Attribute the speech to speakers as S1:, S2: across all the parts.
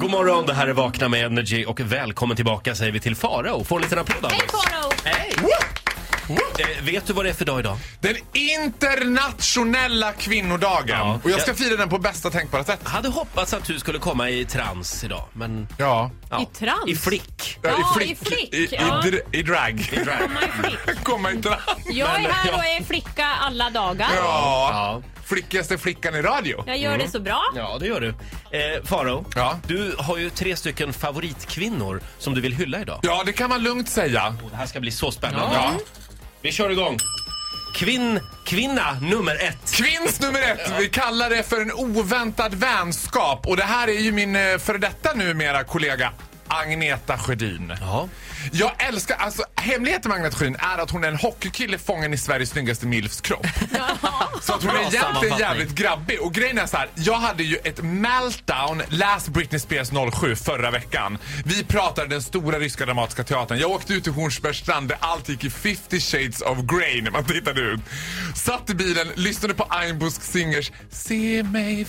S1: God morgon, det här är Vakna med Energy och välkommen tillbaka säger vi till Farao. Får en liten applåd av
S2: Hej
S1: oss.
S2: Farao!
S1: Eh, Vet du vad det är för dag idag?
S3: Den internationella kvinnodagen.
S1: Ja.
S3: Och jag ska fira den på bästa tänkbara sätt.
S1: Hade hoppats att du skulle komma i trans idag, men...
S3: Ja.
S1: ja.
S2: I trans?
S1: I flick.
S2: Ja, i flick,
S3: I, i,
S2: ja.
S3: dr- i drag.
S2: Mamma är flick.
S3: Komma inte där.
S2: Jag är här och är flicka alla dagar.
S3: Ja.
S1: Ja.
S3: Flickigaste flickan i radio.
S2: Jag gör det så bra.
S1: Ja, det gör du. Eh, Farao,
S3: Ja.
S1: du har ju tre stycken favoritkvinnor som du vill hylla idag.
S3: Ja, det kan man lugnt säga.
S1: Och Det här ska bli så spännande.
S3: Ja.
S1: Vi kör igång. Kvinn, kvinna nummer ett.
S3: Kvinns nummer ett. Vi kallar det för en oväntad vänskap. Och det här är ju min eh, före detta numera kollega Agneta Sjödin.
S1: Ja.
S3: Jag älskar, alltså hemligheten med Agneta Sjödin är att hon är en hockeykille fången i Sveriges snyggaste milfs kropp. Så att hon
S1: Bra
S3: är egentligen
S1: sammanfattning.
S3: jävligt grabbig. Och grejen är så här, jag hade ju ett meltdown, läs Britney Spears 07 förra veckan. Vi pratade den stora ryska dramatiska teatern. Jag åkte ut till Hornsbergs strand där allt gick i 50 shades of grey när man tittade ut. Satt i bilen, lyssnade på Einbusk Singers Se mig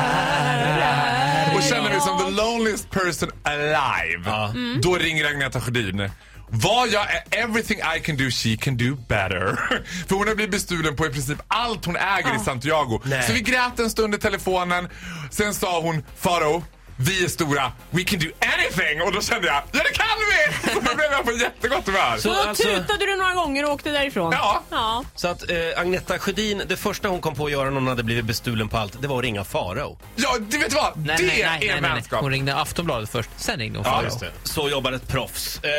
S3: förhära Mm. och kände mig som the loneliest person alive. Mm. Då ringer Agneta Sjödin. Vad jag är, everything I can do she can do better. För hon har blivit bestulen på i princip allt hon äger i Santiago.
S1: Nej.
S3: Så vi grät en stund i telefonen. Sen sa hon, Faro, vi är stora, we can do anything. Och då kände jag, ja det kan vi! Och då blev jag på jättegott humör.
S1: Så-
S2: Då
S1: Alltså-
S2: tutade du några gånger och åkte därifrån.
S3: Ja.
S2: ja.
S1: Så att eh, Agneta Sjödin, det första hon kom på att göra när hon hade blivit bestulen på allt, det var att ringa Farao.
S3: Ja, du vet vad?
S4: Nej,
S3: det
S4: nej, nej,
S3: är
S4: nej, nej, nej.
S3: vänskap.
S4: Hon ringde Aftonbladet först, sen ringde hon Farao.
S3: just det.
S1: Så jobbar ett proffs. Eh,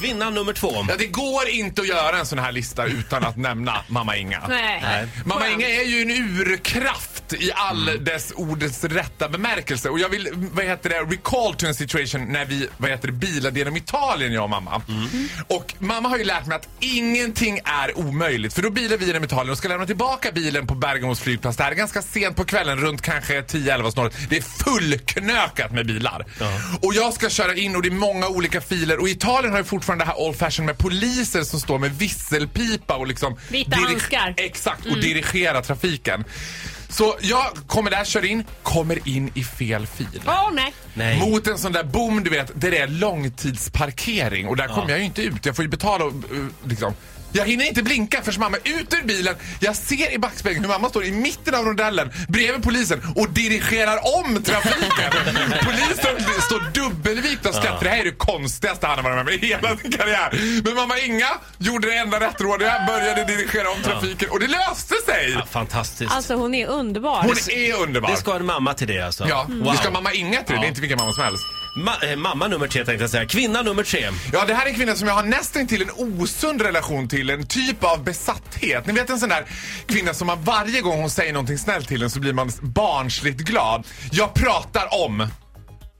S1: kvinna nummer två.
S3: Ja, det går inte att göra en sån här lista utan att nämna mamma Inga.
S2: Nej.
S1: Nej.
S3: Mamma Inga är ju en urkraft i all dess ordets rätta bemärkelse. Och jag vill, vad heter det, recall to en situation när vi, vad heter det, bilade genom Italien jag och mamma. Och mamma har ju lärt mig att ingenting är omöjligt. För då bilar vi genom Italien och ska lämna tillbaka bilen på Bergamos flygplats. Det här är ganska sent på kvällen, runt kanske 10-11 snart. Det är fullknökat med bilar. Och jag ska köra in och det är många olika filer. Och Italien har ju fortfarande det här old fashion med poliser som står med visselpipa och liksom...
S2: Vita
S3: dirige-
S2: handskar.
S3: Exakt, och dirigera trafiken. Så jag kommer där, kör in, kommer in i fel fil.
S2: Åh, nej.
S1: Nej.
S3: Mot en sån där bom, du vet, där det är långtidsparkering. Och där kommer jag ju inte ut. Jag får ju betala och, eh, liksom. Jag hinner inte blinka förrän mamma är ut ur bilen. Jag ser i backspegeln hur mamma står i mitten av rondellen bredvid polisen och dirigerar om trafiken. polisen står dubbelvikt och skrattar. Det här är det konstigaste han har varit med om i hela sin karriär. Men mamma Inga gjorde det enda rättrådiga, började dirigera om trafiken och det löste sig.
S1: Ja, fantastiskt.
S2: Alltså hon är underbar.
S3: Hon är underbar.
S1: det ska en mamma till det alltså.
S3: Ja,
S1: Wow.
S3: det ska mamma Inga till. Det är inte vilken mamma som helst.
S1: Ma- eh, mamma nummer tre tänkte jag säga. Kvinna nummer tre.
S3: Ja, det här är en kvinna som jag har nästan till en osund relation till. En typ av besatthet. Ni vet en sån där kvinna som man varje gång hon säger någonting snällt till en så blir man barnsligt glad. Jag pratar om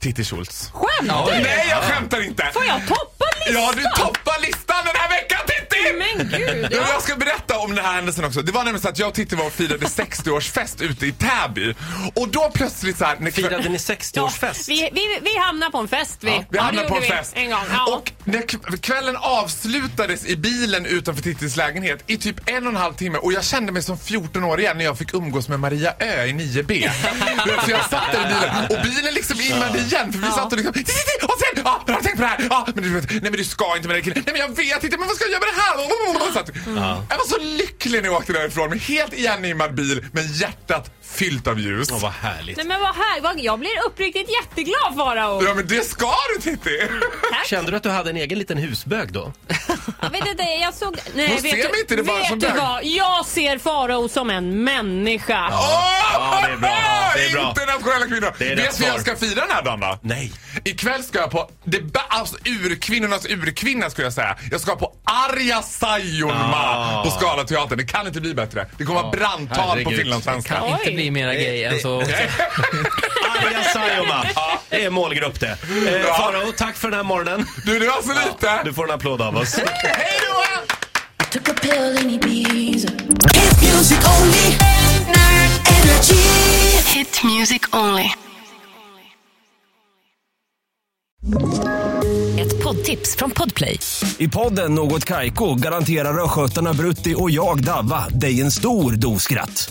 S3: Titti Schultz.
S2: Skämtar du?
S3: Nej, jag skämtar inte!
S2: Får jag toppa listan?
S3: Ja, du toppar listan den här veckan Titti!
S2: Men gud.
S3: Ja, men jag ska berätta om den här händelsen också. Det var nämligen så att jag och Titti var och firade 60-årsfest ute i Täby. Och då plötsligt så här... när-
S1: Firade ni 60-årsfest?
S2: Vi, vi, vi hamnar på en fest vi.
S3: Vi
S2: Ja,
S3: hamnade
S2: det
S3: på en
S2: gjorde vi
S3: fest.
S2: En gång. Ja.
S3: Och när k- kvällen avslutades i bilen utanför Tittis lägenhet i typ en och en halv timme och jag kände mig som 14 år igen när jag fick umgås med Maria Ö i 9B. så jag satt där i bilen och bilen liksom immade igen för vi satt och liksom "Titti, titti, och sen, ja, men har du tänkt på det här? Ja, men du vet, nej men du ska inte med den killen. Nej men jag vet inte, men vad ska jag göra med det här? Oh, Och satt- Jag var så lycklig när jag åkte därifrån med helt igenimmad bil men hjärtat fyllt av ljus.
S1: Åh, vad härligt.
S2: Nej men vad här, vad, jag blir uppriktigt jätteglad Farao.
S3: Ja men det ska du Titti!
S1: Kände du att du hade en egen liten husbög då?
S2: Jag vet inte, jag såg... Nej,
S3: Hon
S2: vet
S3: ser
S2: du,
S3: mig inte, det är bara
S2: vet
S3: som
S2: du
S3: bög.
S2: vad? Jag ser Farao som en människa.
S1: Ja, det är bra. Ja, det är bra.
S3: Internationella kvinnor.
S1: Det är rätt
S3: Vet du hur jag
S1: svar.
S3: ska fira den här dagen då?
S1: Nej.
S3: Ikväll ska jag på det ba- alltså, urkvinnornas urkvinna skulle jag säga. Jag ska på Arja Saijonmaa
S1: Ah.
S3: på Scala teatern. Det kan inte bli bättre. Det kommer vara brandtal på
S1: herregud.
S3: finlandssvenska.
S4: Kan inte
S2: Oj.
S4: bli mera gay än så.
S1: Arja Saijonmaa. Det är målgrupp det. Eh,
S3: Bra.
S1: Farao, tack för den här morgonen.
S3: Du, det var så
S1: Du
S3: lite.
S1: får en applåd av oss.
S3: Hej då!
S5: Took a pill in Ibiza. Hit music only. Night energy.
S6: Hit music only.
S7: Ett poddtips från Podplay.
S8: I podden Något Kaiko garanterar östgötarna Brutti och jag, Davva, dig en stor dos skratt.